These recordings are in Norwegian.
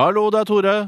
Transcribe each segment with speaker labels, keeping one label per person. Speaker 1: Hallo, det er Tore.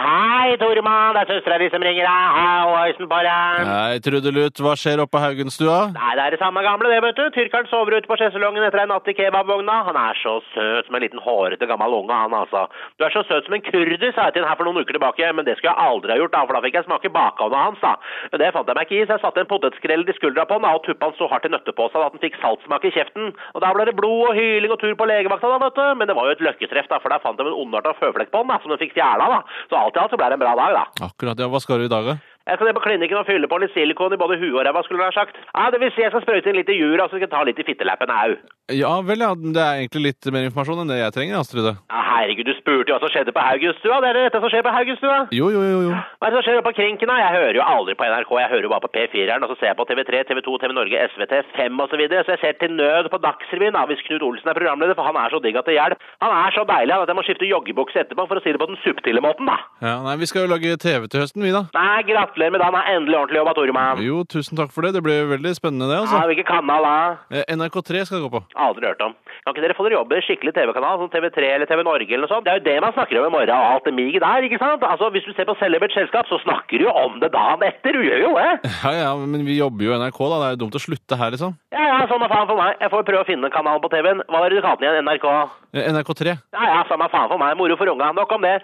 Speaker 2: Hei, Toremann. Det er søstera di som ringer deg. Halloisen på deg.
Speaker 1: Hei, Trudelutt. Hva skjer oppe på Haugenstua?
Speaker 2: Nei, det er det samme gamle, det, vet du. Tyrkeren sover ute på sjeselongen etter en natt i kebabvogna. Han er så søt som en liten hårete gammel unge, han altså. Du er så søt som en kurder, sa jeg til han her for noen uker tilbake, men det skulle jeg aldri ha gjort, da, for da fikk jeg smake bakhånda hans, da. Men det fant jeg meg ikke i, så jeg satte en potetskrell i skuldra på han, da, og tuppa han så hardt i nøtteposen at han fikk saltsmak i kjeften. Og da ble det blod og hyling og tur på legevakta, da, vet du. Men det var jo et løkketreff, da, for der fant de en ondarta føflekk på han, da, som de fikk fjerna, da. Så alt i alt så ble det en bra dag, da.
Speaker 1: Akkurat, ja. Hva skal du i dag, da?
Speaker 2: Jeg skal ned på klinikken og fylle på litt silikon i både huet og ræva, skulle du ha sagt. Ja, det vil si jeg skal sprøyte inn litt i jura, så skal jeg ta litt i fittelappen au.
Speaker 1: Ja vel, ja. Det er egentlig litt mer informasjon enn det jeg trenger, altså, Astrid.
Speaker 2: Ja, herregud, du spurte jo hva som skjedde på Haugenstua. Det er det dette som skjer på Haugenstua.
Speaker 1: Jo, jo, jo. jo.
Speaker 2: Hva er det som skjer oppe på krinken, da? Jeg hører jo aldri på NRK, jeg hører jo bare på P4-eren, og så ser jeg på TV3, TV2, TV Norge, SVT, 5 og så videre, så jeg ser til nød på Dagsrevyen, da, hvis Knut Olsen er programleder, for han er så digg at det hjelper. Han er så deilig han, at jeg må skifte joggebukse etterpå, for å si det på den subtile måten, da.
Speaker 1: Ja, nei, Vi skal jo lage TV til høsten, vi, da.
Speaker 2: Nei, gratulerer med dagen, da. endelig ordentlig jobba, Toremann.
Speaker 1: Jo, tusen takk for det. Det blir veldig spennende, det.
Speaker 2: Ja,
Speaker 1: altså.
Speaker 2: hvilken kanal da?
Speaker 1: Eh, NRK3 skal det gå på.
Speaker 2: Aldri hørt om. Kan ikke dere få dere jobb i en skikkelig TV-kanal, som TV3 eller TV Norge eller noe sånt? Det er jo det man snakker om i morgen, og alt det miget der, ikke sant? Altså, hvis du ser på Celebert Selskap, så snakker du jo om det dagen etter, du gjør jo det!
Speaker 1: Ja, ja, men vi jobber jo i NRK, da. Det er jo dumt å slutte her, liksom.
Speaker 2: Ja, ja, samme faen for meg. Jeg får prøve å finne en kanal på TV-en. Hva var det du kalte den igjen? NRK?
Speaker 1: Eh, NRK3.
Speaker 2: Ja, ja, samme faen for meg. Moro for unga. Nok om det.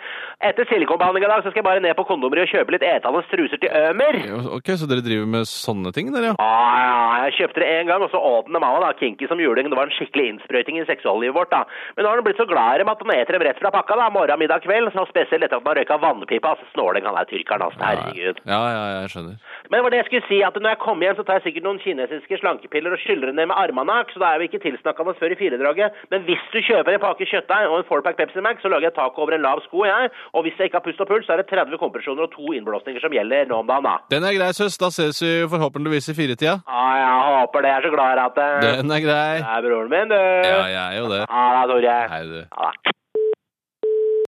Speaker 2: Etter silikonbehandling i dag, så skal jeg bare ned på kondomeriet og kjøpe litt etende truser til Ømer.
Speaker 1: Jo, Ok, så dere driver med sånne ting, dere, ja?
Speaker 2: Ja, Ah, ja, jeg kjøpte det en gang, og så åt den dem av, da. Kinky som juling. Det var en skikkelig innsprøyting i seksuallivet vårt, da. Men nå har den blitt så glad i dem at den eter dem rett fra pakka, da. Morgen, middag, kveld. Så spesielt etter at den har røyka vannpipa. Altså, snåling han er tyrkeren, altså. Herregud.
Speaker 1: Ja, ja, ja, jeg skjønner.
Speaker 2: Men det var det jeg skulle si, at når jeg kommer hjem, så tar jeg sikkert noen kinesiske slankepiller og skyller det ned med armanak, så da er vi ikke tilsnakkende før i firedraget. Men hvis du kjøper en pakke kjøttdeig og en fourpack Pepsi Max, så lager jeg taco over en lav sko, jeg. Og hvis jeg ikke har pust og puls, så er det 30 kompresjoner og to innblåsninger som gjelder nå om dagen, da.
Speaker 1: Den er grei, søs. Da ses vi forhåpentligvis i firetida.
Speaker 2: Ja, jeg håper det. Jeg er så glad i at eh,
Speaker 1: Den er grei.
Speaker 2: Det er broren min, du.
Speaker 1: Ja, jeg er jo det.
Speaker 2: Ha det, Tore.
Speaker 1: Hei, du.
Speaker 2: Ha det.